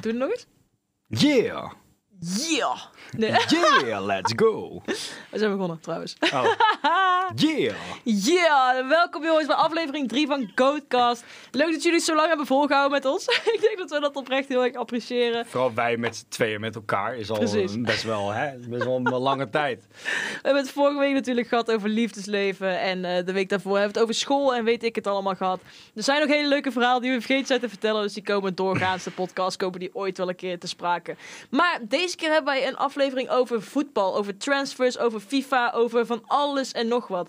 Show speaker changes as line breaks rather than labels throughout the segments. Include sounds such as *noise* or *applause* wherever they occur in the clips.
Doe het nog eens.
Yeah!
Yeah! Nee,
Yeah, let's go!
we zijn begonnen trouwens.
Oh. Yeah!
Yeah! Welkom jongens bij aflevering 3 van Goatcast. Leuk dat jullie het zo lang hebben volgehouden met ons. *laughs* Ik denk dat we dat oprecht heel erg appreciëren.
Vooral wij met z'n tweeën met elkaar is al
Precies.
een- best wel, hè? Best wel een lange tijd.
*laughs* We hebben het vorige week natuurlijk gehad over liefdesleven. En eh, de week daarvoor hebben we het over school en weet ik het allemaal gehad. Er zijn nog hele leuke verhalen die we vergeten zijn te vertellen. Dus die komen doorgaans de podcast, komen die ooit wel een keer te sprake. Maar deze keer hebben wij een aflevering over voetbal. Over transfers, over FIFA, over van alles en nog wat.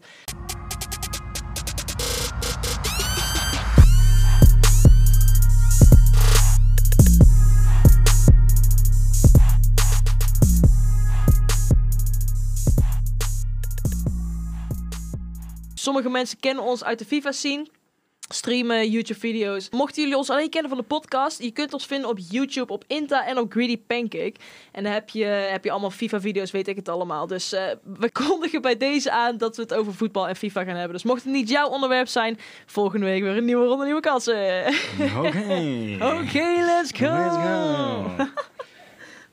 Sommige mensen kennen ons uit de FIFA scene. Streamen, YouTube-video's. Mochten jullie ons alleen kennen van de podcast, je kunt ons vinden op YouTube, op Inta en op Greedy Pancake. En dan heb je, heb je allemaal FIFA-video's, weet ik het allemaal. Dus eh, we *laughs* kondigen bij deze aan dat we het over voetbal en FIFA gaan hebben. Dus mocht het niet jouw onderwerp zijn, volgende week weer een nieuwe ronde, nieuwe kansen.
Oké.
*laughs* Oké, let's go!
Oh. Let's go!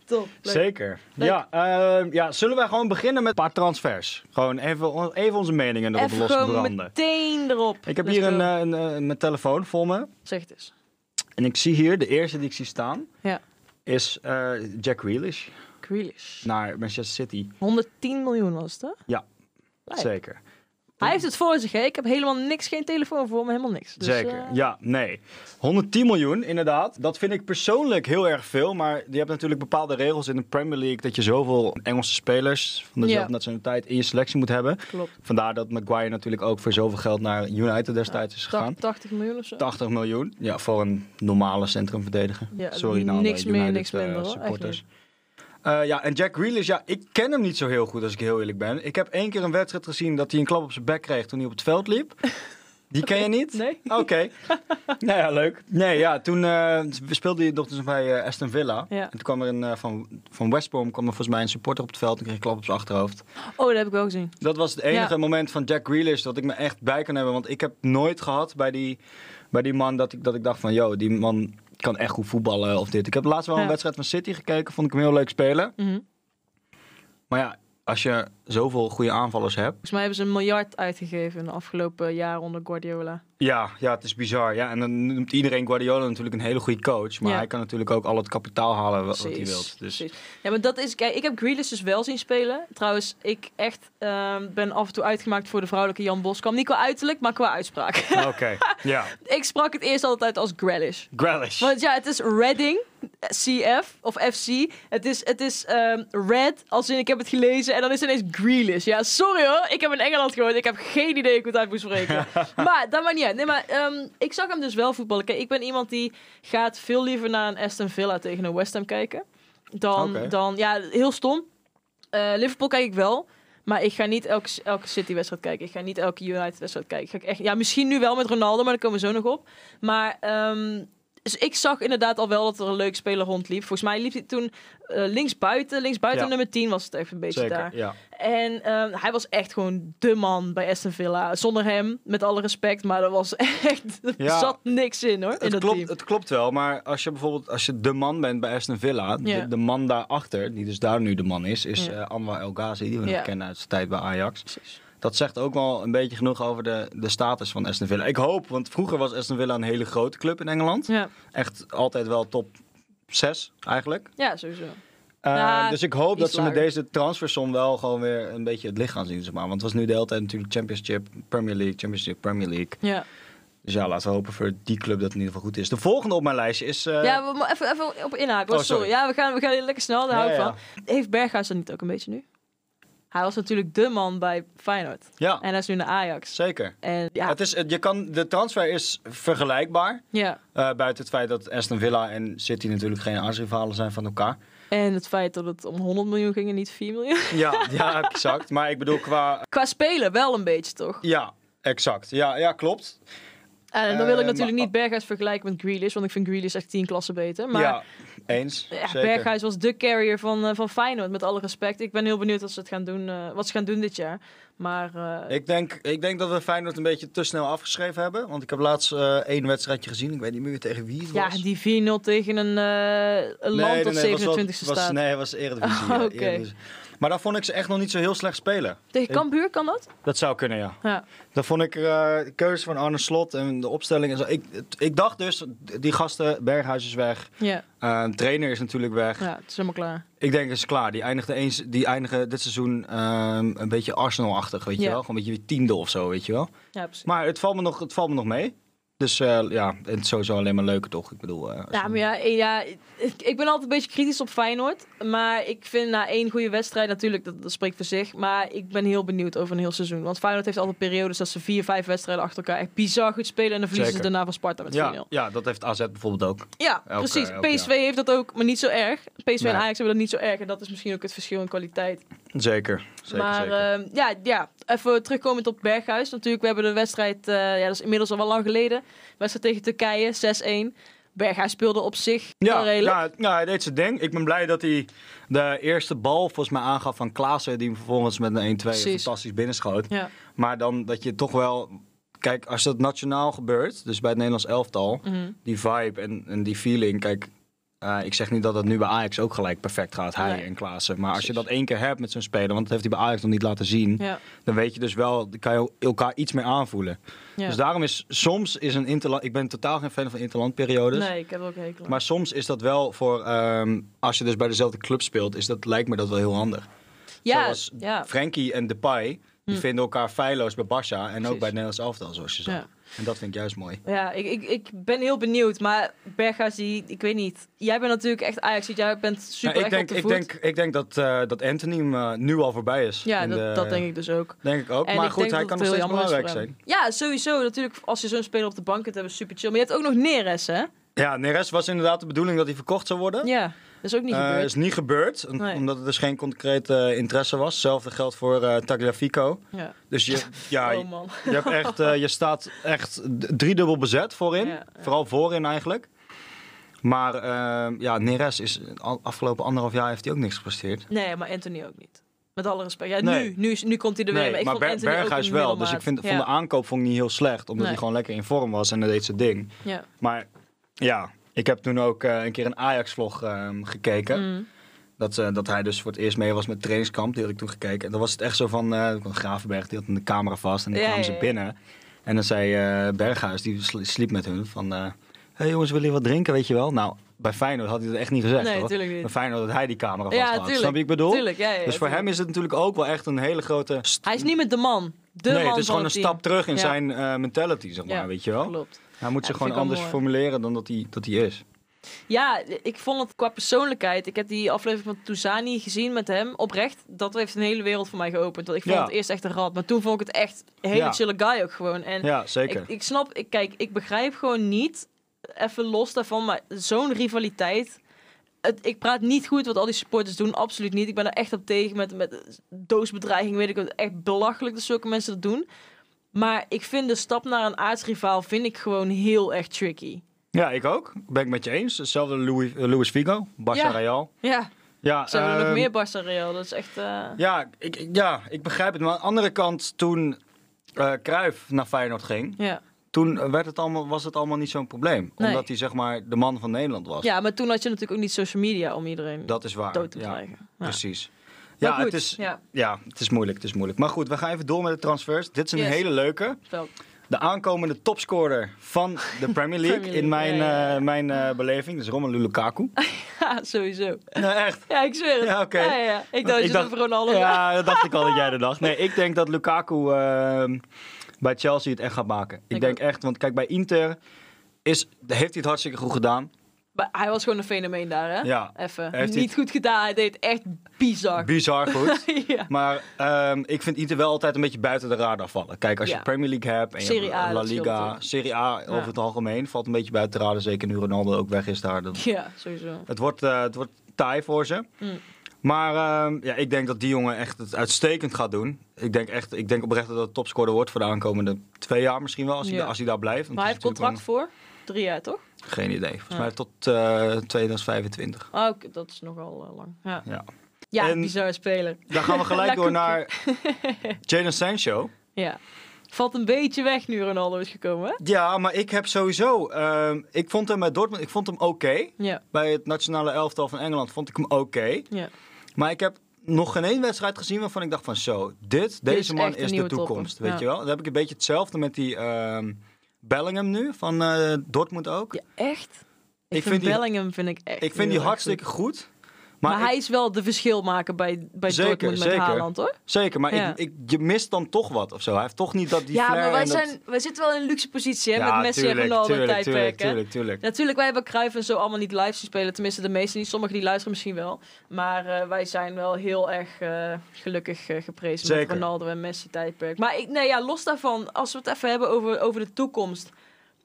Top. leuk.
Zeker.
Leuk.
Ja, ehm, ja, zullen wij gewoon beginnen met een paar transfers? Gewoon even, on- even onze meningen erop
Even
los
gewoon
branden.
meteen erop.
Ik heb
Let's
hier
go.
een, eh, een, eh, mijn telefoon voor me.
Zeg het eens.
En ik zie hier, de eerste die ik zie staan,
Ja.
is eh, Jack Grealish
Grealish.
naar Manchester City.
110 miljoen was het, hè?
Ja,
Lijp.
zeker.
Hij heeft het voor zich, hè? Ik heb helemaal niks, geen telefoon voor me, helemaal niks. Dus,
Zeker,
eh,
ja, nee. 110 miljoen, inderdaad. Dat vind ik persoonlijk heel erg veel. Maar je hebt natuurlijk bepaalde regels in de Premier League... dat je zoveel Engelse spelers van dezelfde
Ja.
nationaliteit in je selectie moet hebben.
Klopt.
Vandaar dat Maguire natuurlijk ook voor zoveel geld naar United destijds is gegaan.
80, 80 miljoen of zo.
80 miljoen. Ja, voor een normale centrumverdediger.
Ja,
Sorry, nou,
niks meer,
United,
niks
eh,
minder, hoor. Echt
supporters.
niet.
Eh, ja, en Jack Grealish, ja, ik ken hem niet zo heel goed als ik heel eerlijk ben. Ik heb één keer een wedstrijd gezien dat hij een klap op zijn bek kreeg toen hij op het veld liep. Die ken je niet?
Nee.
Oké.
*laughs*
nou ja, leuk. Nee, ja, toen eh, speelde hij nog dus bij eh, Aston Villa.
Ja.
En toen kwam er een, eh, van, van West Brom kwam er volgens mij een supporter op het veld en kreeg een klap op zijn achterhoofd.
Oh, dat heb ik wel gezien.
Dat was het enige
Ja.
moment van Jack Grealish dat ik me echt bij kan hebben. Want ik heb nooit gehad bij die, bij die man dat ik, dat ik dacht van... ...yo, die man kan echt goed voetballen of dit. Ik heb laatst wel
Ja.
een wedstrijd van City gekeken. Vond ik hem heel leuk spelen.
Mhm.
Maar ja, als je zoveel goede aanvallers hebt...
Volgens mij hebben ze een miljard uitgegeven in de afgelopen jaren onder Guardiola.
Ja, ja, het is bizar. Ja, en dan noemt iedereen Guardiola natuurlijk een hele goede coach. Maar
Ja.
hij kan natuurlijk ook al het kapitaal halen wat, wat hij
Precies,
wil. Dus
precies. Ja, maar dat is... Kijk, ik heb Grealish dus wel zien spelen. Trouwens, ik echt ehm, ben af en toe uitgemaakt voor de vrouwelijke Jan Boskamp. Niet qua uiterlijk, maar qua uitspraak. *laughs*
oké, ja.
ik sprak het eerst altijd uit als Grealish.
Grealish.
Want ja, het is Reading, eh, CF of FC. Het is, het is ehm, red, als in ik heb het gelezen. En dan is het ineens Grealish. Ja, sorry hoor. Ik heb in Engeland gewoond. Ik heb geen idee hoe ik het uit moet spreken. maar dat maakt niet uit. Nee, maar ehm, ik zag hem dus wel voetballen. Kijk, ik ben iemand die gaat veel liever naar een Aston Villa tegen een West Ham kijken. Dan,
Oké.
dan ja, heel stom. Eh, Liverpool kijk ik wel. Maar ik ga niet elke, elke City-wedstrijd kijken. Ik ga niet elke United-wedstrijd kijken. Ga ik echt, ja, misschien nu wel met Ronaldo, maar daar komen we zo nog op. Maar ehm, dus ik zag inderdaad al wel dat er een leuk speler rondliep. Volgens mij liep hij toen eh, linksbuiten. Linksbuiten
Ja.
nummer 10 was het even een beetje
Zeker,
daar.
ja.
En ehm, hij was echt gewoon de man bij Aston Villa. Zonder hem, met alle respect. Maar er was *laughs* echt... Er
Ja.
zat niks in hoor, in
Het
dat
klopt,
team.
het klopt wel, maar als je bijvoorbeeld als je de man bent bij Aston Villa,
Ja.
de, de man daarachter, die dus daar nu de man is, is
Ja.
eh Anwar El Ghazi, die we
Ja.
nog kennen uit zijn tijd bij Ajax.
Precies.
Dat zegt ook wel een beetje genoeg over de, de status van Aston Villa. Ik hoop, want vroeger was Aston Villa een hele grote club in Engeland.
Ja.
Echt altijd wel top 6 eigenlijk.
ja, sowieso.
Eh,
Ja,
dus ik hoop
iets
dat ze met
lager.
deze transfersom wel gewoon weer een beetje het licht gaan zien. Zeg maar. Want het was nu de hele tijd natuurlijk Championship, Premier League, Championship, Premier League.
Ja,
Dus ja, laten we hopen voor die club dat het in ieder geval goed is. De volgende op mijn lijstje is... eh,
ja we, maar even, even op inhaken. hoor.
Oh, sorry.
sorry. Ja, we gaan, we gaan hier lekker snel, daar hou
Ja,
ik
ja.
van. Heeft Berghuis dat niet ook een beetje nu? Hij was natuurlijk de man bij Feyenoord.
ja.
En hij is nu naar Ajax.
Zeker.
En eh, ja,
Het is, het- je kan, de transfer is vergelijkbaar.
ja.
eh, buiten het feit dat Aston Villa en City natuurlijk geen aardsrivalen zijn van elkaar.
En het feit dat het om 100 miljoen ging en niet 4 miljoen. *laughs*
Ja, *laughs* ja exact. Maar ik bedoel qua...
Qua spelen wel een beetje, toch?
Ja, exact. Ja, ja klopt.
En dan wil ik
Eh,
natuurlijk
maar-
niet Berghuis vergelijken met Grealish, want ik vind Grealish echt tien klassen beter. Maar
ja, eens.
Ja,
zeker.
Berghuis was de carrier van, eh, van Feyenoord, met alle respect. Ik ben heel benieuwd wat ze, het gaan doen, eh, wat ze gaan doen dit jaar. Maar eh,
Ik denk, ik denk dat we Feyenoord een beetje te snel afgeschreven hebben. Want ik heb laatst eh, één wedstrijdje gezien. Ik weet niet meer tegen wie het
ja,
was.
die 4-0 tegen een, eh, een
Nee,
land dat
nee, nee, was wel-
27e
was,
staat.
Nee, was Eredivisie.
Oh, *laughs*
ja,
oké.
Eredivisie. Maar daar vond ik ze echt nog niet zo heel slecht spelen.
Tegen Cambuur kan dat?
Dat zou kunnen, ja.
Ja.
Dan vond ik eh, de keuze van Arne Slot en de opstelling en zo. Ik, ik dacht dus, die gasten, Berghuis is weg.
Ja.
eh, trainer is natuurlijk weg.
ja, het is helemaal klaar.
Ik denk, het is klaar. Die eindigen, eens, die eindigen dit seizoen ehm, een beetje Arsenal-achtig, weet je
Ja.
wel. Gewoon een beetje tiende of zo, weet je wel.
Ja, precies.
Maar het valt me nog, het valt me nog mee. Dus eh, ja, het is sowieso alleen maar leuker, toch? Ik bedoel... eh, als
Ja,
je-
maar ja, eh, ja ik, ik ben altijd een beetje kritisch op Feyenoord. Maar ik vind na één goede wedstrijd natuurlijk, dat, dat spreekt voor zich. Maar ik ben heel benieuwd over een heel seizoen. Want Feyenoord heeft altijd periodes dat ze vier, vijf wedstrijden achter elkaar echt bizar goed spelen. En dan verliezen
Zeker.
ze daarna van Sparta met 4-0.
ja, ja, dat heeft AZ bijvoorbeeld ook.
Ja,
Elk,
precies.
eh, elk jaar.
PSV heeft dat ook, maar niet zo erg. PSV
Nee.
en Ajax hebben dat niet zo erg. En dat is misschien ook het verschil in kwaliteit.
Zeker, zeker,
maar
zeker.
ehm, ja, ja, even terugkomend op Berghuis. Natuurlijk, we hebben de wedstrijd, eh, ja, dat is inmiddels al wel lang geleden. Wedstrijd tegen Turkije, 6-1. Berghuis speelde op zich wel
Ja,
redelijk.
ja, ja, hij deed zijn ding. Ik ben blij dat hij de eerste bal volgens mij aangaf van Klaassen. Die hem vervolgens met een 1-2
Precies.
fantastisch binnenschoot.
Ja.
Maar dan dat je toch wel... Kijk, als dat nationaal gebeurt, dus bij het Nederlands elftal...
Mhm.
Die vibe en, en die feeling, kijk... eh, ik zeg niet dat dat nu bij Ajax ook gelijk perfect gaat, hij
Nee.
en Klaassen. Maar als je
Precies.
dat één keer hebt met zo'n speler, want dat heeft hij bij Ajax nog niet laten zien...
ja.
dan weet je dus wel, dan kan je elkaar iets meer aanvoelen.
Ja.
Dus daarom is soms is een interland... Ik ben totaal geen fan van interlandperiodes.
Nee, ik heb er ook een hekel aan.
dus. Maar soms is dat wel voor, ehm, als je dus bij dezelfde club speelt, is dat, lijkt me dat wel heel handig.
ja,
Zoals
ja, Hm.
Frenkie en Depay, die vinden elkaar feilloos bij Barça en ook bij
Precies.
het Nederlands elftal, zoals je zei.
Ja.
En dat vind ik juist mooi.
ja ik, ik, ik ben heel benieuwd. Maar Berghuis, die, ik weet niet. Jij bent natuurlijk echt Ajax. Jij bent super
Nou,
echt
ik, denk,
op de
ik,
voet.
denk, ik denk dat, eh, dat Anthony hem eh, nu al voorbij is.
ja,
in
dat,
de-
dat denk ik dus ook.
Denk ik ook,
En
maar
ik
goed,
denk
hij
dat
kan
het
nog
heel
steeds
jammer is voor
belangrijk zijn.
hem. Ja, sowieso. Natuurlijk, als je zo'n speler op de bank kunt hebben, super chill. Maar je hebt ook nog Neres, hè?
Ja, Neres was inderdaad de bedoeling dat hij verkocht zou worden.
Ja, dat is ook niet
Eh,
gebeurd.
is niet gebeurd, om-
Nee.
omdat er dus geen concrete eh, interesse was. Hetzelfde geldt voor eh Tagliafico.
Ja. *laughs*
Dus je, ja,
oh man.
Je, hebt echt, eh, je staat echt d- driedubbel bezet voorin.
Ja, ja.
Vooral voorin eigenlijk. Maar eh, ja, Neres is al- afgelopen anderhalf jaar heeft hij ook niks gepresteerd.
Nee, maar Anthony ook niet. Met alle respect. Ja,
Nee.
nu, nu, is- nu komt hij er weer. maar ik
maar
vond
Ber-
Anthony ook
Berghuis
een
wel. Dus ik
middelmaat.
vind,
ja.
vond de aankoop vond ik niet heel slecht. Omdat
Nee.
hij gewoon lekker in vorm was en dat deed zijn ding.
Ja.
Maar ja, ik heb toen ook eh, een keer een Ajax-vlog ehm, gekeken.
Mm.
Dat, eh, dat hij dus voor het eerst mee was met trainingskamp. Die had ik toen gekeken. En dan was het echt zo van eh Gravenberg, die had een camera vast. En dan
Ja,
kwamen
ja,
ze
ja.
binnen. En dan zei eh, Berghuis, die sl- sliep met hun, van... eh hey jongens, willen jullie wat drinken, weet je wel? Nou, bij Feyenoord had hij dat echt niet gezegd,
Nee,
hoor.
tuurlijk niet.
Bij Feyenoord had hij die camera vast
Ja,
gehad.
tuurlijk.
Snap je wat ik bedoel?
Tuurlijk, ja, ja, ja,
dus voor hem
tuurlijk.
is het natuurlijk ook wel echt een hele grote... st-
Hij is niet met de man. De
nee,
man
het is
van
gewoon een
het team.
stap terug in
Ja.
zijn eh, mentality, zeg maar,
Ja,
weet je wel?
Klopt.
Hij moet
Ja, dat vind
zich gewoon
ik wel
anders
mooi.
formuleren dan dat hij, dat hij is.
Ja, ik vond het qua persoonlijkheid. Ik heb die aflevering van Touzani gezien met hem. Oprecht, dat heeft een hele wereld voor mij geopend. Want ik vond
Ja.
het eerst echt een rat. Maar toen vond ik het echt een hele
Ja.
chille guy ook gewoon. En
Ja, zeker.
Ik, ik snap, ik, kijk, ik begrijp gewoon niet, even los daarvan, maar zo'n rivaliteit. Het, ik praat niet goed wat al die supporters doen, absoluut niet. Ik ben er echt op tegen met, met doosbedreiging, weet ik wat. Echt belachelijk dat zulke mensen dat doen. Maar ik vind de stap naar een aardsrivaal vind ik gewoon heel erg tricky.
Ja, ik ook. Ben ik met je eens. Hetzelfde Louis, eh, Luis Figo, Barça
Ja.
Real.
Ja,
Ja,
ze hebben nog
ehm,
meer Barça Real. Dat is echt... eh,
Ja ik, ik- ja, ik begrijp het. Maar aan de andere kant, toen eh Cruijff naar Feyenoord ging,
Ja.
toen eh, werd het allemaal, was het allemaal niet zo'n probleem.
Nee.
Omdat hij zeg maar de man van Nederland was.
ja, maar toen had je natuurlijk ook niet social media om iedereen
Dat is waar.
dood te
ja,
krijgen. Ja.
Precies.
Maar
Ja,
goed,
het is,
ja.
ja, het is moeilijk, het is moeilijk. Maar goed, we gaan even door met de transfers. Dit is een
Yes.
hele leuke.
Wel,
De aankomende topscorer van de
*laughs*
Premier League,
Premier
in mijn,
League, ja, ja.
eh, mijn eh, beleving. Dus Romelu Lukaku.
*laughs* *laughs* Ja, sowieso.
nou, echt.
Ja, ik zweer het.
Ja, oké.
ja, ja. Ik dacht,
Ik
dat je
dacht-
het over Ronaldo
Ja, dat dacht ik al dat jij dat dacht. Nee, ik denk dat Lukaku ehm, bij Chelsea het echt gaat maken. Ik,
Ik
denk echt, want kijk, bij Inter is, heeft hij het hartstikke goed gedaan.
Maar hij was gewoon een fenomeen daar, hè?
Ja,
Even.
Heeft
Niet
hij-
goed gedaan. Hij deed het echt bizar.
bizar goed.
*laughs* ja.
Maar ehm, ik vind Inter wel altijd een beetje buiten de radar vallen. Kijk, als je
Ja.
Premier League hebt en je
Serie
hebt
A,
La
dat scheelt
Liga,
natuurlijk.
Serie A over
Ja.
het algemeen valt een beetje buiten de radar. Zeker nu Ronaldo ook weg is daar. Dan-
ja, sowieso.
Het wordt, eh, het wordt taai voor ze.
Mm.
Maar ehm, ja, ik denk dat die jongen echt het uitstekend gaat doen. Ik denk, echt, ik denk oprecht dat dat topscorer wordt voor de aankomende twee jaar misschien wel. Als, hij,
Ja.
da- als hij daar blijft. Want
Maar hij
het
heeft
is natuurlijk
contract voor drie jaar, toch?
wel- Geen idee. Volgens
Ja.
mij tot eh 2025.
Ah, oké, dat is nogal eh, lang. Ja,
Ja.
ja
En-
bizarre speler.
Dan
*laughs*
gaan we gelijk
Lekker
door naar
*laughs*
Jadon Sancho.
Ja. Valt een beetje weg nu Ronaldo is gekomen, hè?
Ja, maar ik heb sowieso... ehm, ik vond hem bij Dortmund ik vond hem oké.
Ja,
Bij het nationale elftal van Engeland vond ik hem oké.
ja.
Maar ik heb nog geen één wedstrijd gezien waarvan ik dacht van zo, dit, deze
is
man
echt een
is de
nieuwe
toekomst.
topper.
Weet
Ja.
je wel? Dan heb ik een beetje hetzelfde met die ehm, Bellingham nu, van eh, Dortmund ook.
ja echt? Ik,
Ik
vind,
vind die-
Bellingham vind ik echt
ik vind
heel
die
erg
hartstikke
goed.
goed.
Maar,
Maar, ik-
hij is wel de verschilmaker bij, bij
Zeker,
Dortmund met
zeker.
Haaland, hoor.
Zeker, maar
Ja.
ik, ik, je mist dan toch wat of zo. Hij heeft toch niet dat die
ja,
flair
maar wij,
en dat-
zijn, wij zitten wel in een luxe positie, hè?
Ja,
met Messi en
tuurlijk,
Ronaldo
tuurlijk,
tijdperk,
tuurlijk,
hè?
tuurlijk, tuurlijk.
Natuurlijk, wij hebben Cruijff en zo allemaal niet live zien spelen. Tenminste, de meesten niet. Sommigen die luisteren misschien wel. Maar eh, wij zijn wel heel erg eh, gelukkig eh, geprezen
Zeker.
met Ronaldo en Messi tijdperk. Maar ik, nee, ja, los daarvan, als we het even hebben over, over de toekomst.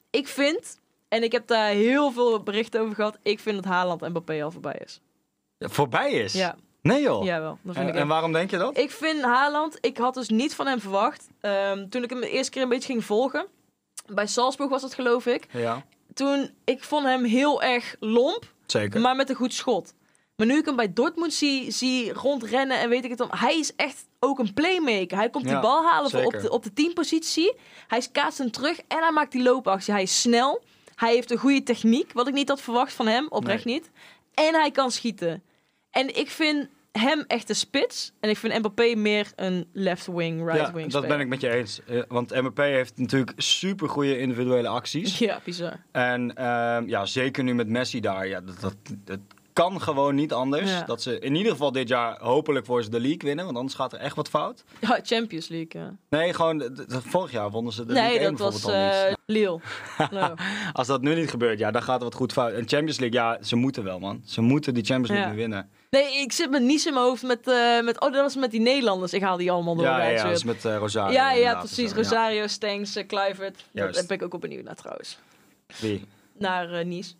Ik vind, en ik heb daar heel veel berichten over gehad, ik vind dat Haaland en Mbappé al voorbij is.
Voorbij is?
Ja,
Nee joh.
jawel. Dat vind
Oh. en,
ik
en
echt.
waarom denk je dat?
Ik vind Haaland, ik had dus niet van hem verwacht. Ehm, toen ik hem de eerste keer een beetje ging volgen. Bij Salzburg was dat geloof ik.
Ja,
Toen, ik vond hem heel erg lomp.
zeker.
Maar met een goed schot. Maar nu ik hem bij Dortmund zie, zie rondrennen en weet ik het dan. Hij is echt ook een playmaker. Hij komt
Ja,
die bal halen voor op
zeker.
de, op de teampositie. Hij kaatst hem terug en hij maakt die loopactie. Hij is snel. Hij heeft een goede techniek, wat ik niet had verwacht van hem. Oprecht niet. En hij kan schieten. En ik vind hem echt een spits. En ik vind Mbappé meer een left wing, right
ja,
wing
dat ben ik met je eens. Eh, Want MBP heeft natuurlijk super goede individuele acties.
*laughs* Ja, bizar.
En ehm, ja, zeker nu met Messi daar. Ja, dat, dat, dat kan gewoon niet anders.
Ja.
Dat ze in ieder geval dit jaar hopelijk voor ze de league winnen. Want anders gaat er echt wat fout.
Ja, Champions League. ja.
Nee, gewoon d- d- vorig jaar wonnen ze de
Nee,
League één
dat was
bijvoorbeeld al
eh
niet. *laughs*
Lille. Nou,
Als dat nu niet gebeurt, ja, dan gaat er wat goed fout. En Champions League, ja, ze moeten wel, man. Ze moeten die Champions League
Ja.
nu winnen.
Nee, ik zit met niets in mijn hoofd met, eh, met... Oh, dat was met die Nederlanders. Ik haal die allemaal door.
Ja, ja,
bij het
ja, dat
shirt.
is met eh, Rosario.
ja, ja,
inderdaad,
precies.
zo, ja.
Rosario, Stanks, eh, Kluivert. Daar
Juist.
ben ik ook op benieuwd naar trouwens.
Wie?
Naar eh, Nice.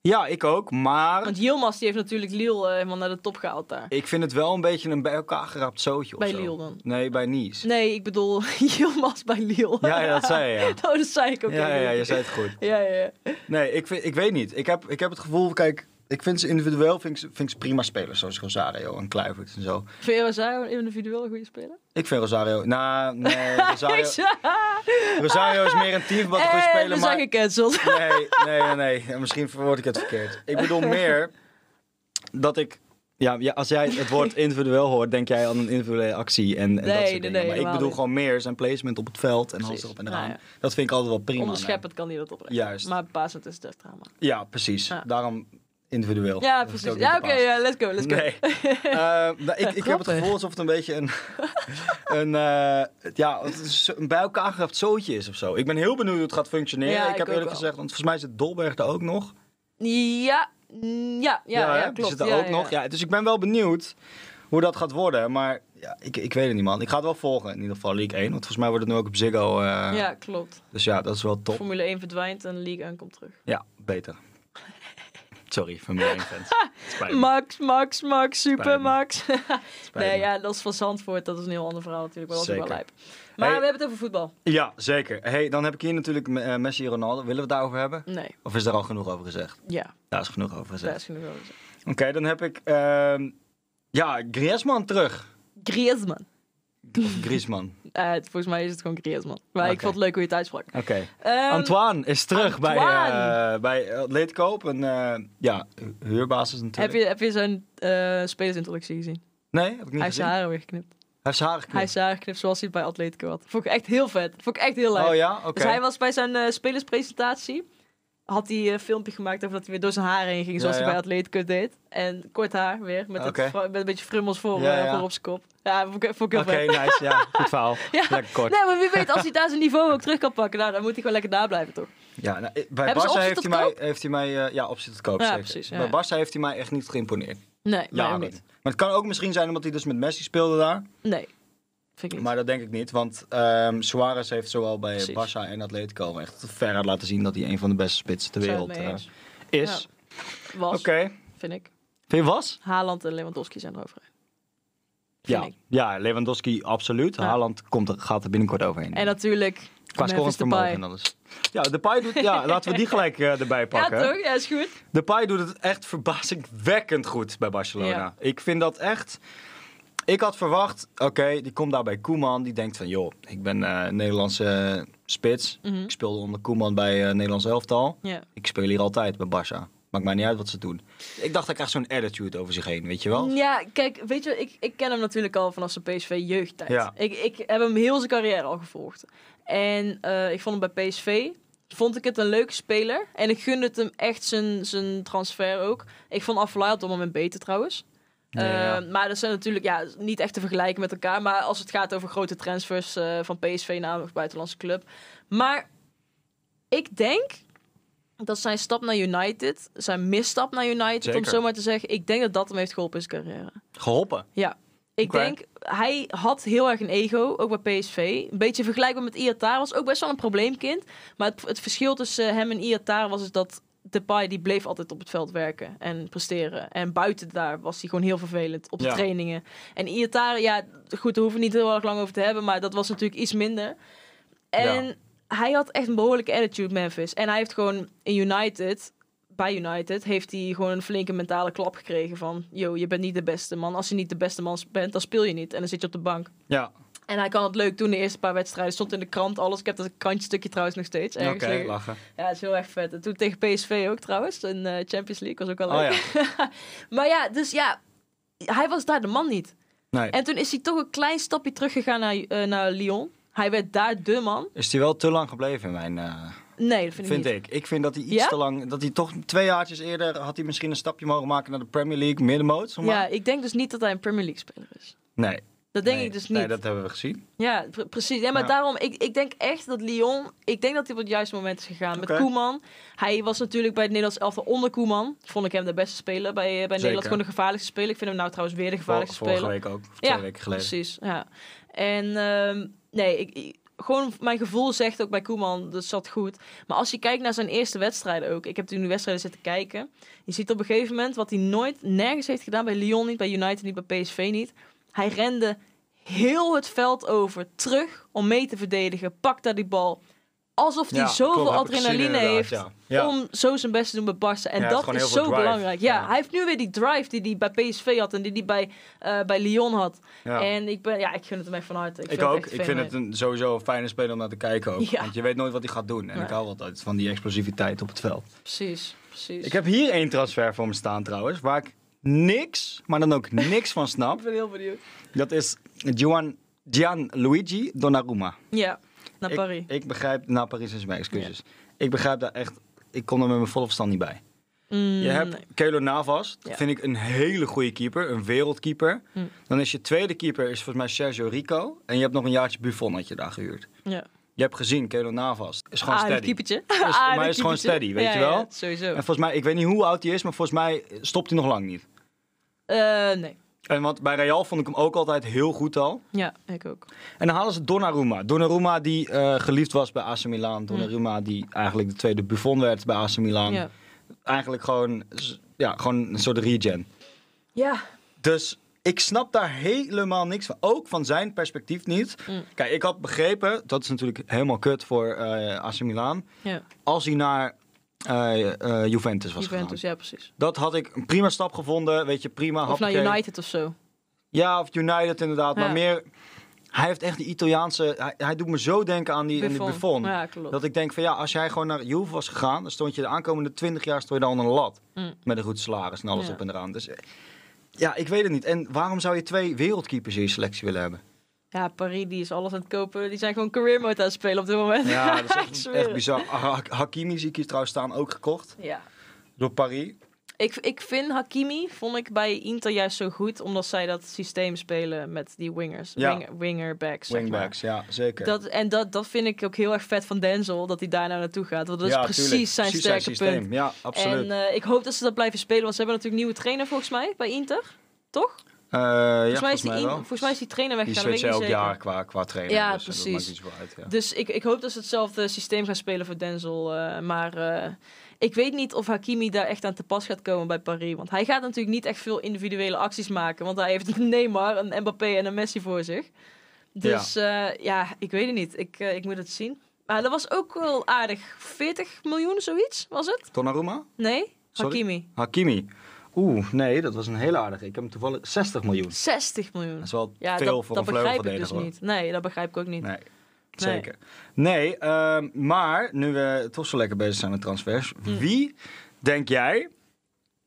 Ja, ik ook, maar
Want Yilmaz die heeft natuurlijk Lille eh, helemaal naar de top gehaald daar.
ik vind het wel een beetje een bij elkaar geraapt zootje of
Bij
zo.
Lille dan.
Nee, bij Nice.
Nee, ik bedoel *laughs* Yilmaz bij Lille.
Ja, ja, dat zei je, ja.
*laughs* oh, dat zei ik ook.
Ja,
heel
ja, je
goed.
zei het goed.
ja, ja, ja.
Nee, ik, vind, ik weet niet. Ik heb, ik heb het gevoel, kijk, ik vind ze individueel vind ik, ze- vind ik ze prima spelers. Zoals Rosario en Kluivert en zo.
Vind je Rosario een individueel een goede speler?
Ik vind Rosario,
*laughs*
nou, nee,
Ik
Rosario,
zei-
Rosario is meer een team wat een goede
Eh,
speler,
we
maar...
zijn
Nee,
gecanceld.
nee, nee, nee. En Misschien verwoord ik het verkeerd. Ik
*laughs*
bedoel meer dat ik... Ja, ja, als jij het woord individueel hoort, denk jij aan een individuele actie en, en dat
Nee,
soort
nee, nee,
dingen. maar ik
helemaal
bedoel
niet.
gewoon meer zijn placement op het veld en alles
Precies.
erop en eraan.
Nou ja.
Dat vind ik altijd wel prima. aan hem.
Onderscheppend kan hij dat oprecht.
Juist.
Maar basend is het echt drama.
Ja, precies.
Ja.
Daarom individueel.
Ja,
Dat is
precies.
ook niet
Ja,
te
oké,
pas.
ja, let's go, let's go.
Nee.
*laughs*
Eh, nou, ik, ik heb het
Grappig.
gevoel alsof het een beetje een, *laughs* een, eh, ja, het is een bij elkaar gerapt zootje is of zo. Ik ben heel benieuwd hoe het gaat functioneren.
Ja,
ik,
ik
heb
ook
eerlijk
wel.
gezegd, want volgens mij zit Dolberg er ook nog.
Ja, mm, ja, ja, ja,
hè?
klopt.
Die zit er
ja,
ook
ja.
nog. Ja, dus ik ben wel benieuwd hoe dat gaat worden. Maar ja, ik, ik weet het niet, man. Ik ga het wel volgen. In ieder geval League 1. Want volgens mij wordt het nu ook op Ziggo. eh,
Ja, klopt.
Dus ja, dat is wel top.
Formule 1 verdwijnt en League 1 komt terug.
Ja, beter. Sorry, Formule 1 *laughs* fans. Het spijt me.
Max, Max, Max, super
Spijt
*laughs*
me.
Max.
Spijt
nee,
me.
ja, dat is van Zandvoort. Dat is een heel ander verhaal natuurlijk. Maar dat is ook wel
Zeker.
lijp. Maar
Hey.
we hebben het over voetbal.
Ja, zeker. Hey, dan heb ik hier natuurlijk eh, Messi en Ronaldo. Willen we het daarover hebben?
Nee,
Of is daar al genoeg over gezegd?
ja,
Daar is genoeg over gezegd.
daar is genoeg over. gezegd.
Oké, dan heb ik... ehm, ja, Griezmann terug.
Griezmann.
Of Griezmann.
Eh, volgens mij is het gewoon Griezmann. Maar ik
Oké.
vond het leuk hoe je het uitsprak.
*laughs* Oké.
Ehm,
Antoine is terug bij,
Antoine!
eh bij Atletico op een eh, ja, hu- huurbasis
heb,
natuurlijk.
je, heb je zijn eh, spelersintroductie gezien?
Nee, heb ik niet
Hij heeft
gezien.
zijn haren weer geknipt.
Hij heeft zijn haar geknipt.
Hij heeft zijn haren geknipt zoals hij het bij Atletico had. Vond ik echt heel vet. Vond ik echt heel leuk.
Oh ja? Oké.
Dus hij was bij zijn eh, spelerspresentatie. Had hij een filmpje gemaakt over dat hij weer door zijn haar heen ging. Zoals
Ja,
hij
ja.
bij Atletico deed. En kort haar weer. Met,
Oké.
het, fro- met een beetje frummels voor,
Ja,
eh,
ja.
voor op zijn kop. Ja, vond ik, vond ik
Oké,
heel vet.
nice. Ja,
*laughs*
goed verhaal.
Ja.
Lekker kort.
Nee, maar wie weet, als hij daar zijn niveau ook terug kan pakken, nou, dan moet hij gewoon lekker daar blijven, toch?
Ja, nou, eh, bij
Hebben ze
Barca
optie
heeft
tot
hij mij... Heeft hij mij eh, ja, optie tot koop.
Ja,
zeker.
precies, ja,
Bij
ja.
Barca heeft hij mij echt niet geïmponeerd.
Nee,
Ja,
maar
maar
niet.
het kan ook misschien zijn omdat hij dus met Messi speelde daar.
Nee, vind ik niet.
Maar dat denk ik niet, want ehm Suarez heeft zowel bij
Precies.
Barca en Atletico echt veruit laten zien dat hij een van de beste spitsen ter
Zijn we
wereld
het mee
eh,
eens?
is.
Was,
Oké,
vind ik.
Vind je was?
Haaland en Lewandowski zijn erover. Vind
Ja.
ik.
ja, Lewandowski absoluut.
Ja.
Haaland komt er, gaat er binnenkort overheen.
En natuurlijk
Qua
Memphis
scorenvermogen
Depay.
en alles. Ja, Depay doet... Ja, laten we die gelijk eh, erbij
Ja,
pakken.
toch? Ja, is goed.
Depay doet het echt verbazingwekkend goed bij Barcelona.
Ja.
Ik vind dat echt... Ik had verwacht, oké, die komt daar bij Koeman. Die denkt van, joh, ik ben eh, Nederlandse eh, spits.
Mhm.
Ik speelde onder Koeman bij eh, Nederlands elftal.
Ja.
Ik speel hier altijd bij Barça. Maakt mij niet uit wat ze doen. Ik dacht, hij krijgt zo'n attitude over zich heen, weet je wel?
Ja, kijk, weet je, ik, ik ken hem natuurlijk al vanaf zijn PSV-jeugdtijd.
Ja.
Ik, ik heb hem heel zijn carrière al gevolgd. En eh, ik vond hem bij PSV, vond ik het een leuke speler. En ik gunde het hem echt zijn, zijn transfer ook. Ik vond Aflaai op dat moment beter trouwens.
Ja.
Eh, maar dat zijn natuurlijk ja, niet echt te vergelijken met elkaar. Maar als het gaat over grote transfers eh, van PSV naar een buitenlandse club. Maar ik denk dat zijn stap naar United, zijn misstap naar United, om
Zeker.
het zo maar te zeggen. Ik denk dat dat hem heeft geholpen in zijn carrière.
Geholpen.
Ja. Ik
Oké.
denk, hij had heel erg een ego, ook bij PSV. Een beetje vergelijkbaar met Iatara, was ook best wel een probleemkind. Maar het, het verschil tussen hem en Iatara was dus dat Depay, die bleef altijd op het veld werken en presteren. En buiten daar was hij gewoon heel vervelend, op de
Ja.
trainingen. En Iatara, ja, goed, daar hoeven we niet heel erg lang over te hebben, maar dat was natuurlijk iets minder. En hij had echt een behoorlijke attitude, Memphis. En hij heeft gewoon in United bij United heeft hij gewoon een flinke mentale klap gekregen van... ...yo, je bent niet de beste man. Als je niet de beste man bent, dan speel je niet. En dan zit je op de bank.
Ja,
En hij kan het leuk doen de eerste paar wedstrijden. Stond in de krant, alles. Ik heb dat krantjestukje trouwens nog steeds.
oké,
ergens liggen.
lachen.
Ja, het is heel erg vet. En toen tegen PSV ook trouwens, in eh, Champions League. was ook wel
Oh
leuk. *laughs* maar ja, dus ja, hij was daar de man niet.
Nee.
En toen is hij toch een klein stapje teruggegaan naar, eh, naar Lyon. Hij werd daar de man.
Is hij wel te lang gebleven in mijn... eh,
Nee, dat vind,
Vind,
ik niet.
ik. Ik vind dat hij iets
Ja?
te lang... Dat hij toch twee jaartjes eerder... Had hij misschien een stapje mogen maken naar de Premier League, middenmoot. zeg maar.
Ja, ik denk dus niet dat hij een Premier League speler is.
Nee.
Dat denk
nee,
ik dus niet.
Nee, dat hebben we gezien.
Ja, pre- precies. Ja, maar
Ja.
daarom, ik, ik denk echt dat Lyon, ik denk dat hij op het juiste moment is gegaan.
Oké.
Met Koeman, hij was natuurlijk bij het Nederlands elftal onder Koeman. Vond ik hem de beste speler bij, eh, bij Nederland. Gewoon de gevaarlijkste speler. Ik vind hem nou trouwens weer de
Vor-
gevaarlijkste
vorige
speler.
week ook. Of twee
Ja,
weken geleden.
Precies, ja. En ehm, nee, ik, ik- gewoon mijn gevoel zegt ook bij Koeman, dat zat goed. Maar als je kijkt naar zijn eerste wedstrijden ook. Ik heb toen die wedstrijden zitten kijken. Je ziet op een gegeven moment wat hij nooit nergens heeft gedaan. Bij Lyon niet, bij United niet, bij PSV niet. Hij rende heel het veld over, terug om mee te verdedigen. Pakt daar die bal. Alsof hij
Ja,
zoveel
klopt, heb ik gezien
adrenaline
inderdaad,
heeft
Ja. Ja.
om zo zijn best te doen bij Barca. En
Ja,
dat
gewoon heel
is
veel
zo
drive.
belangrijk. Ja,
Ja.
hij heeft nu weer die drive die hij bij PSV had en die hij bij, eh, bij Lyon had.
Ja.
En ik, ben, ja, ik gun het hem echt van harte. Ik,
Ik
vind
ook.
Het
Ik vind het een, sowieso een fijne speler om naar te kijken ook.
Ja.
Want je weet nooit wat hij gaat doen. En
Nee.
ik hou altijd van die explosiviteit op het veld.
Precies, precies.
Ik heb hier één transfer voor me staan trouwens. Waar ik niks, maar dan ook niks van snap.
ben heel benieuwd.
*laughs* Dat is Gian, Gianluigi Donnarumma.
Ja, naar
Ik-
Paris.
Ik, begrijp, naar Paris is mijn excuses. Ik begrijp daar echt, ik kon er met mijn volle verstand niet bij.
Mm,
Je hebt
nee.
Kelo Navas, dat
Ja.
vind ik een hele goede keeper, een wereldkeeper.
Hm.
Dan is je tweede keeper is volgens mij Sergio Rico. En je hebt nog een jaartje Buffon had je daar gehuurd.
Ja.
Je hebt gezien, Kelo Navas is gewoon
Ah, een
steady.
keepertje. *laughs*
is
Ah,
gewoon
een keepertje.
steady, weet
Ja,
je wel?
ja, sowieso.
En volgens mij, ik weet niet hoe oud hij is, maar volgens mij stopt hij nog lang niet.
Eh, nee.
En want bij Real vond ik hem ook altijd heel goed al.
Ja, ik ook.
En dan halen ze Donnarumma. Donnarumma die eh, geliefd was bij AC Milan. Donnarumma die eigenlijk de tweede Buffon werd bij AC Milan.
Ja.
Eigenlijk gewoon, z- ja, gewoon een soort regen.
ja,
Dus ik snap daar helemaal niks van. Ook van zijn perspectief niet.
Mm.
Kijk, ik had begrepen, dat is natuurlijk helemaal kut voor eh AC Milan.
ja.
Als hij naar eh, eh, Juventus was
Juventus,
gegaan.
ja, precies.
Dat had ik een prima stap gevonden. Weet je, prima.
Of naar
hoppakee.
United of zo.
Ja, of United inderdaad. Maar
Ja.
meer, hij heeft echt die Italiaanse... Hij, hij doet me zo denken aan die Buffon. die Buffon.
Ja, klopt.
Dat ik denk van ja, als jij gewoon naar Juve was gegaan, dan stond je de aankomende 20 jaar stond je dan aan een lat.
Mm.
Met een goed salaris en alles
Ja.
op en eraan. Dus eh, ja, ik weet het niet. En waarom zou je twee wereldkeepers in je selectie willen hebben?
Ja, Paris, die is alles aan het kopen. Die zijn gewoon career mode aan het spelen op dit moment. *laughs*
Ja, dat is
Ik
echt,
zweer
echt
het.
bizar. Ah, Hak- Hakimi zie ik hier trouwens staan, ook gekocht
Ja.
door Paris.
Ik, ik vind Hakimi, vond ik bij Inter juist zo goed, omdat zij dat systeem spelen met die wingers.
Ja.
Winger, wingerbacks, zeg maar.
Wingbacks, ja, zeker.
Dat, en dat, dat vind ik ook heel erg vet van Denzel, dat hij daar nou naartoe gaat. Want dat is
Ja,
precies
tuurlijk.
zijn
Precies
sterke
systeem.
punt.
Ja, absoluut.
En eh, ik hoop dat ze dat blijven spelen, want ze hebben natuurlijk nieuwe trainer volgens mij bij Inter. Toch?
Eh, ja,
volgens, mij is die, in-
wel.
volgens mij is die trainer
Die
weggegaan. dat weet
switchen
ik niet
elk
zeker.
jaar qua, qua trainer.
Ja,
dus dat
precies.
maakt niet zoveel uit, ja.
Dus ik, ik hoop dat ze hetzelfde systeem gaan spelen voor Denzel. eh, maar eh, Ik weet niet of Hakimi daar echt aan te pas gaat komen bij Paris. Want hij gaat natuurlijk niet echt veel individuele acties maken. Want hij heeft *laughs* een Neymar, een Mbappé en een Messi voor zich. Dus eh, ja, ik weet het niet. Ik, eh, ik moet het zien. Maar dat was ook wel aardig. 40 miljoen, zoiets was het?
Donnarumma?
Nee?
Sorry?
Hakimi.
Hakimi. Oeh, nee, dat was een heel aardige. Ik heb hem toevallig 60 miljoen.
60 miljoen.
Dat is wel
Ja,
veel
dat,
voor
dat
een
begrijp ik dus
vleugelverdediger. hoor.
niet. Nee, dat begrijp ik ook niet.
Nee, zeker. Nee, ehm, maar nu we toch zo lekker bezig zijn met transfers.
Hm.
Wie denk jij...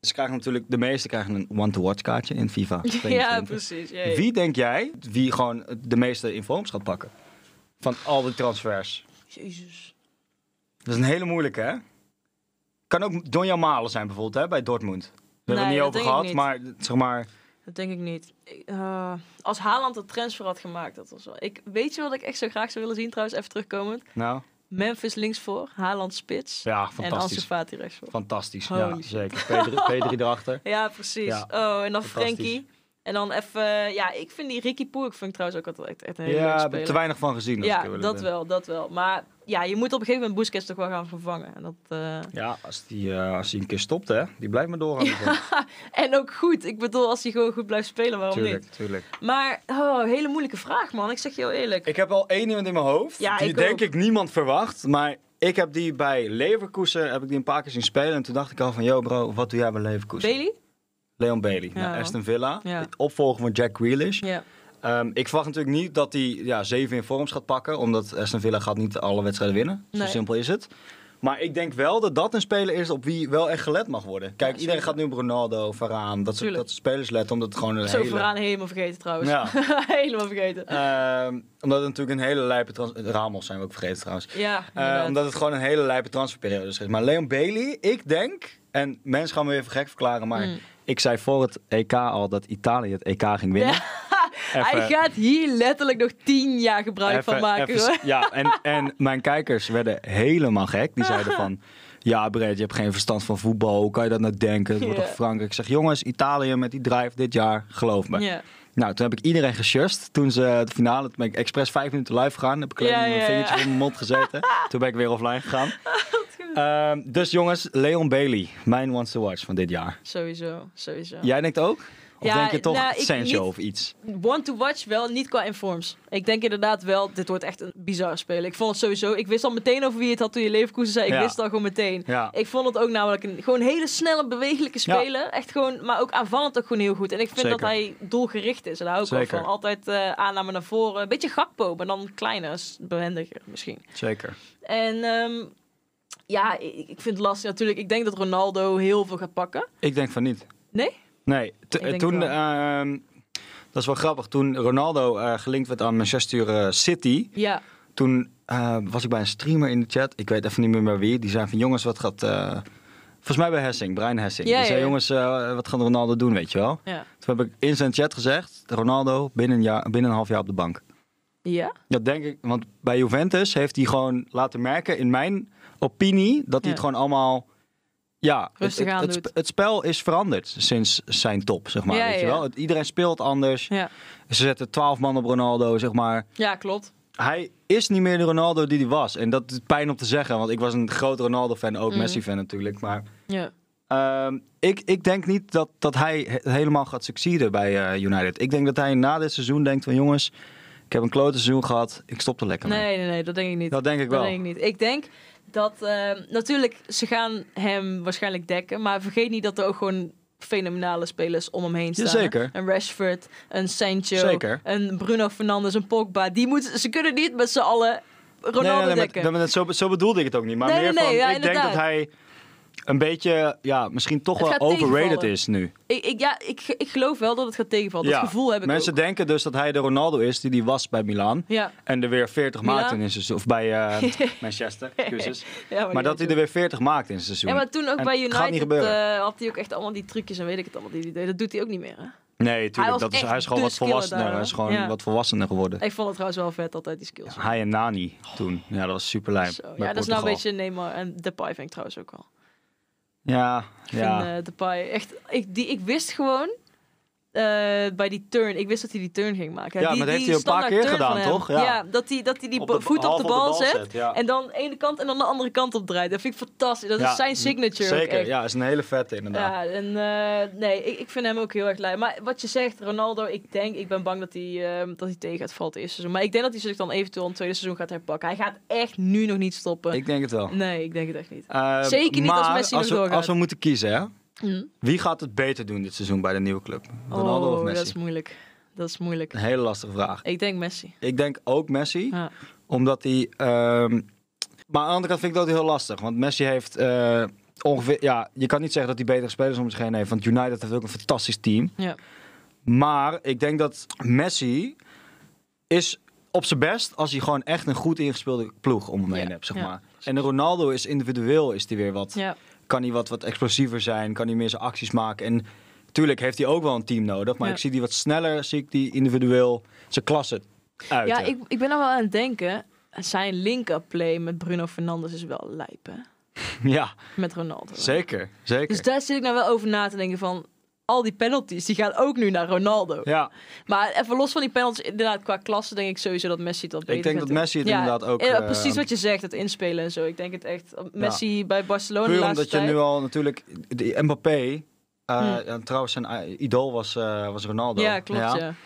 Ze krijgen natuurlijk, de meesten krijgen een one-to-watch kaartje in FIFA.
*laughs* Ja,
22.
precies. jee.
Wie denk jij wie gewoon de meeste informs gaat pakken? Van al die transfers.
Jezus.
Dat is een hele moeilijke, hè? Kan ook Donja Malen zijn bijvoorbeeld, hè, bij Dortmund. We hebben het
Nee,
niet
dat
over
denk ik
gehad,
niet.
maar zeg maar...
Dat denk ik niet. Ik- eh, als Haaland de transfer had gemaakt, dat was wel... Ik, weet je wat ik echt zo graag zou willen zien trouwens, even terugkomend?
Nou,
Memphis linksvoor, Haaland spits
ja,
en Ansu
fantastisch.
Fati rechtsvoor.
Fantastisch,
Holy
ja,
shit.
zeker.
*laughs*
P3, P3 erachter.
Ja, precies.
Ja,
Oh, en dan
fantastisch.
Frenkie. En dan even... Ja, ik vind die Ricky Poer, ik vind ik trouwens ook altijd echt, echt een hele leuke
Ja, heb ik
speler.
te weinig van gezien. Als ik heel
ja,
eerlijk
dat
ben.
wel, dat wel. Maar ja, je moet op een gegeven moment Busquets toch wel gaan vervangen. En, dat, eh,
Ja, als die, eh, als die een keer stopt, hè. Die blijft maar doorgaan. natuurlijk
en ook goed. Ik bedoel, als hij gewoon goed blijft spelen, waarom
tuurlijk,
niet?
tuurlijk.
Maar, oh, hele moeilijke vraag, man. Ik zeg je heel eerlijk.
Ik heb al één iemand in mijn hoofd.
Ja,
die
ik
denk
ook.
ik niemand verwacht. Maar ik heb die bij Leverkusen heb ik die een paar keer zien spelen. En toen dacht ik al van, yo bro, wat doe jij bij Leverkusen?
Bailey?
Leon Bailey. naar
Ja.
Aston Villa.
Ja.
Het Opvolger van Jack Grealish.
Ja.
Ehm, ik verwacht natuurlijk niet dat hij ja, zeven in vorms gaat pakken. Omdat Aston Villa gaat niet alle wedstrijden winnen. Zo
Nee.
simpel is het. Maar ik denk wel dat dat een speler is op wie wel echt gelet mag worden. Kijk,
Ja,
iedereen
zeker.
gaat nu op Ronaldo, Varaan, dat soort
Tuurlijk.
dat soort spelers letten. Omdat het gewoon een
Zo
hele...
vooraan helemaal vergeten trouwens.
Ja.
*laughs* helemaal vergeten.
Ehm, omdat het natuurlijk een hele lijpe... trans- Ramos zijn we ook vergeten trouwens.
Ja,
Eh,
inderdaad.
omdat het gewoon een hele lijpe transferperiode is. geweest. Maar Leon Bailey, ik denk... En mensen gaan me weer even gek verklaren, maar...
Mm.
Ik zei voor het EK al dat Italië het EK ging winnen.
*laughs* Hij
Even-
gaat hier letterlijk nog tien jaar gebruik van
Even-
maken.
even-
hoor.
Ja, en, en mijn kijkers werden helemaal gek. Die zeiden
*laughs*
van... Ja, Brett, je hebt geen verstand van voetbal. Hoe kan je dat nou denken? Het wordt
Ja.
toch Frankrijk? Ik zeg, jongens, Italië met die drive dit jaar. Geloof me.
Ja.
Nou, toen heb ik iedereen gesust. Toen ze de finale... Toen ben ik expres vijf minuten live gegaan. Heb ik alleen
Ja,
mijn
ja,
vingertjes
ja.
in mijn mond
*laughs*
gezeten. toen ben ik weer offline gegaan. Ehm, dus jongens, Leon Bailey. Mijn wants to watch van dit jaar.
Sowieso, sowieso.
Jij denkt ook? Of
Ja,
denk je toch
nou, ik
Sancho
niet-
of iets?
Want to watch wel, niet qua informs. Ik denk inderdaad wel, dit wordt echt een bizar spelen. Ik vond het sowieso, ik wist al meteen over wie het had toen je Leverkusen zei. Ik
Ja.
wist het al gewoon meteen.
Ja.
Ik vond het ook namelijk een gewoon hele snelle, bewegelijke
Ja.
speler. Echt gewoon, maar ook aanvallend ook gewoon heel goed. En ik vind
Zeker.
dat hij doelgericht is. En daar hou ik wel
Zeker.
van. Altijd eh, aanname naar voren. Een beetje Gakpo, maar dan kleiner, s- behendiger misschien.
Zeker.
En ehm, ja, ik, ik vind het lastig natuurlijk. Ik denk dat Ronaldo heel veel gaat pakken.
Ik denk van niet.
Nee?
Nee, t-
Ik denk
toen.
het
ehm, dat is wel grappig. Toen Ronaldo eh, gelinkt werd aan Manchester eh, City,
Ja,
toen eh, was ik bij een streamer in de chat. Ik weet even niet meer bij wie. Die zei van jongens, wat gaat. eh, volgens mij bij Hessing, Brian Hessing.
Ja,
die zei
ja, ja.
jongens, eh, wat gaat Ronaldo doen, weet je wel?
ja.
Toen heb ik in zijn chat gezegd: Ronaldo binnen een, jaar, binnen een half jaar op de bank.
Ja?
Dat denk ik, want bij Juventus heeft hij gewoon laten merken, in mijn opinie, dat
Ja.
hij het gewoon allemaal. Ja, het-
Rustig
het,
aan
het,
doet.
sp- het spel is veranderd sinds zijn top, zeg maar.
Ja,
weet je
ja.
wel? Het- iedereen speelt anders.
Ja.
Ze zetten 12 man op Ronaldo, zeg maar.
ja, klopt.
Hij is niet meer de Ronaldo die hij was. En dat is pijn om te zeggen, want ik was een groot Ronaldo-fan, ook
Mhm.
Messi-fan natuurlijk. Maar
Ja.
ehm, ik, ik denk niet dat, dat hij he- helemaal gaat succeden bij eh, United. Ik denk dat hij na dit seizoen denkt van jongens, ik heb een klote seizoen gehad, ik stop er lekker mee.
Nee, nee, nee, dat denk ik niet.
Dat denk ik wel.
Dat denk ik niet. Ik denk dat eh, natuurlijk ze gaan hem waarschijnlijk dekken, maar vergeet niet dat er ook gewoon fenomenale spelers om hem heen staan. hè.
Jazeker.
Een Rashford, een Sancho,
Zeker.
een Bruno Fernandes, een Pogba. Die moeten, ze kunnen niet met z'n allen Ronaldo
nee, nee, nee,
dekken.
maar- maar dat- zo, zo bedoelde ik het ook niet. Maar
Nee,
meer
nee,
van,
nee, ja,
ik denk dat
inderdaad.
hij een beetje, ja, misschien toch
Het
wel
gaat
overrated
tegenvallen.
is nu.
ik, ik, ja, ik, ik geloof wel dat het gaat tegenvallen.
Ja,
Dat gevoel heb ik
Mensen
ook.
denken dus dat hij de Ronaldo is die die was bij Milaan.
Ja,
En er weer 40
Milaan?
maakt in zijn seizoen. Of bij
*laughs*
eh, Manchester, excuses.
ja,
Maar dat
die-
hij er weer 40 maakt in zijn seizoen.
ja, maar toen ook
En
bij
het
United
gaat niet gebeuren.
eh, had hij ook echt allemaal die trucjes en weet ik het allemaal die hij deed. Dat doet hij ook niet meer, hè?
Nee, tuurlijk.
was
dat is,
echt
hij is gewoon
de
wat volwassener.
skiller daar,
Hij is gewoon
hoor. Ja.
wat volwassener geworden.
Ik vond het trouwens wel vet altijd die skills.
Hij en Nani toen. Ja, dat was super
Zo,
lijp.
ja, dat is nou een beetje Neymar en Depay vind ik trouwens ook wel.
Ja,
Ik
ja.
vind eh, Depay echt... Ik, die, ik wist gewoon... eh, eh, bij die turn. Ik wist dat hij die turn ging maken.
Ja,
die,
maar dat heeft
die
hij een paar
standaard
keer
turn van
gedaan,
hem.
toch? Ja.
ja dat hij dat hij die
Op
bo-
de-
voet op
half
de bal zet.
ja.
En dan de ene kant en dan de andere kant op draait. Dat vind ik fantastisch. Dat is
Ja,
zijn signature. ook
Zeker,
echt.
ja, is een hele vette inderdaad.
Ja, en eh, nee, ik, ik vind hem ook heel erg lui. Maar wat je zegt, Ronaldo, ik denk, ik ben bang dat hij, ehm, dat hij tegen het valt het eerste seizoen. Maar ik denk dat hij zich dan eventueel een tweede seizoen gaat herpakken. Hij gaat echt nu nog niet stoppen.
Ik denk het wel.
Nee, ik denk het echt niet.
Eh,
Zeker niet als
maar
Messi nog
we,
doorgaat.
Als we moeten kiezen, hè?
Hm.
Wie gaat het beter doen dit seizoen bij de nieuwe club? Ronaldo of
Oh,
Messi?
dat is moeilijk. Dat is moeilijk.
Een hele lastige vraag.
Ik denk Messi.
Ik denk ook Messi,
Ja.
omdat hij... ehm, Maar aan de andere kant vind ik dat heel lastig, want Messi heeft eh, ongeveer... Ja, je kan niet zeggen dat hij betere spelers om zich heen heeft, want United heeft ook een fantastisch team.
Ja.
Maar ik denk dat Messi is op zijn best als hij gewoon echt een goed ingespeelde ploeg om hem heen
Ja,
hebt, zeg
ja.
maar. En Ronaldo is individueel is hij weer wat...
Ja.
kan hij wat, wat explosiever zijn, kan hij meer zijn acties maken. En tuurlijk heeft hij ook wel een team nodig, maar
Ja.
ik zie die wat sneller, zie ik die individueel zijn klasse uit.
Ja, ik, ik ben er wel aan het denken. Zijn link-up play met Bruno Fernandes is wel lijp, hè?
*laughs* ja
Met Ronaldo.
zeker, zeker.
Dus daar zit ik nou wel over na te denken van... Al die penalties, die gaan ook nu naar Ronaldo.
ja,
Maar even los van die penalties, inderdaad, qua klasse denk ik sowieso dat Messi dat beter
ik denk
gaat
dat
doen.
Messi het
Ja,
inderdaad ook...
eh,
eh,
precies wat je zegt, het inspelen en zo. Ik denk het echt. Messi bij Barcelona de
Puur
laatste
omdat je
tijd.
nu al natuurlijk... Die Mbappé, eh,
Hm.
en trouwens zijn eh, idool was, eh, was Ronaldo.
Ja, klopt, ja. *laughs*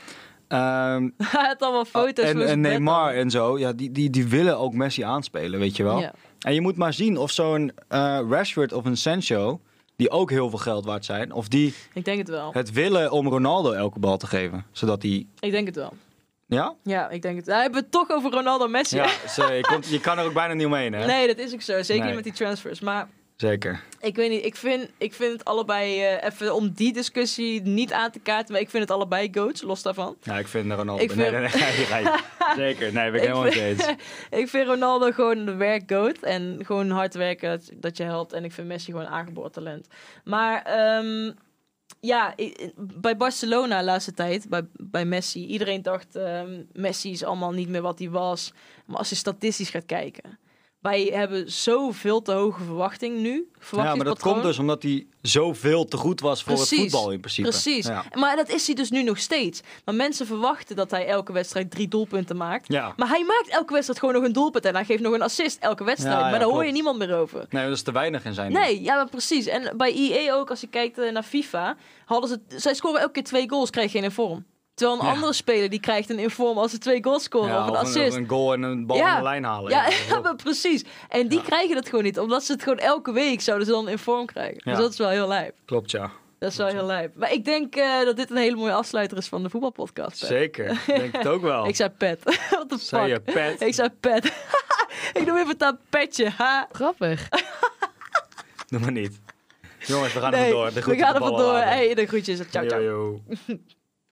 Ehm,
Hij had allemaal foto's
en,
voor
en
zijn bed
Neymar
dan.
en zo, ja, die, die, die willen ook Messi aanspelen, weet je wel.
Ja.
En je moet maar zien of zo'n eh, Rashford of een Sancho, die ook heel veel geld waard zijn, of die
Ik denk het wel.
het willen om Ronaldo elke bal te geven. Zodat hij.
Ik denk het wel.
Ja?
Ja, ik denk het. Daar hebben we het toch over Ronaldo en Messi. *laughs*
Ja, ze- je, komt- je kan er ook bijna niet omheen, hè?
Nee, dat is ook zo. Zeker
Nee.
niet met die transfers. Maar
Zeker.
ik weet niet, ik vind, ik vind het allebei, eh, even om die discussie niet aan te kaarten, maar ik vind het allebei goats, los daarvan.
Ja, Nou, ik vind Ronaldo.
Ik vind-
Nee, nee, nee, nee, *laughs* nee, nee. Zeker. Nee, ben
Ik
ik, helemaal niet
*laughs*
eens.
Ik vind Ronaldo gewoon de werkgoat en gewoon hard werken dat, dat je helpt. En ik vind Messi gewoon aangeboren talent. Maar ehm, ja, i- bij Barcelona de laatste tijd, bij, bij Messi, iedereen dacht ehm, Messi is allemaal niet meer wat hij was. Maar als je statistisch gaat kijken, wij hebben zoveel te hoge verwachting nu.
Ja, maar dat komt
Verwachtingspatroon.
dus omdat hij zoveel te goed was voor het
Precies.
voetbal in principe.
Precies.
Ja.
Maar dat is hij dus nu nog steeds. Maar mensen verwachten dat hij elke wedstrijd drie doelpunten maakt.
ja.
Maar hij maakt elke wedstrijd gewoon nog een doelpunt en hij geeft nog een assist elke wedstrijd.
Ja, ja,
maar daar hoor je
klopt.
niemand meer over.
Nee, dat is te weinig in zijn.
Nee, ja, maar precies. En bij EA ook, als je kijkt eh, naar FIFA, hadden ze, zij scoren elke keer twee goals, krijg geen inform. Terwijl een
Ja.
andere speler die krijgt een inform als ze twee goals scoren
Ja,
of een
of
assist.
Een, goal en een bal
Ja.
aan de lijn halen.
*laughs* Ja,
dat is
ja,
heel-
maar precies. En die
Ja.
krijgen dat gewoon niet, omdat ze het gewoon elke week zouden ze dan een inform krijgen.
Ja.
Dus dat is wel heel lijp.
Klopt, ja.
Dat is wel heel lijp. Maar ik denk eh, dat dit een hele mooie afsluiter is van de voetbalpodcast. Pet.
Zeker. Ik Denk het ook wel.
*laughs* Ik zei pet. What the
Zei je
fuck?
pet.
Ik zei pet. *laughs* ik noem even het aan petje. Ha.
Grappig.
Doe maar niet. Jongens, we gaan
Nee, *laughs*
er vandoor. De
we
groeten,
gaan
de
er
ballen
vandoor.
laten.
Hey, de groetjes. Ciao, ciao.
Yo, yo.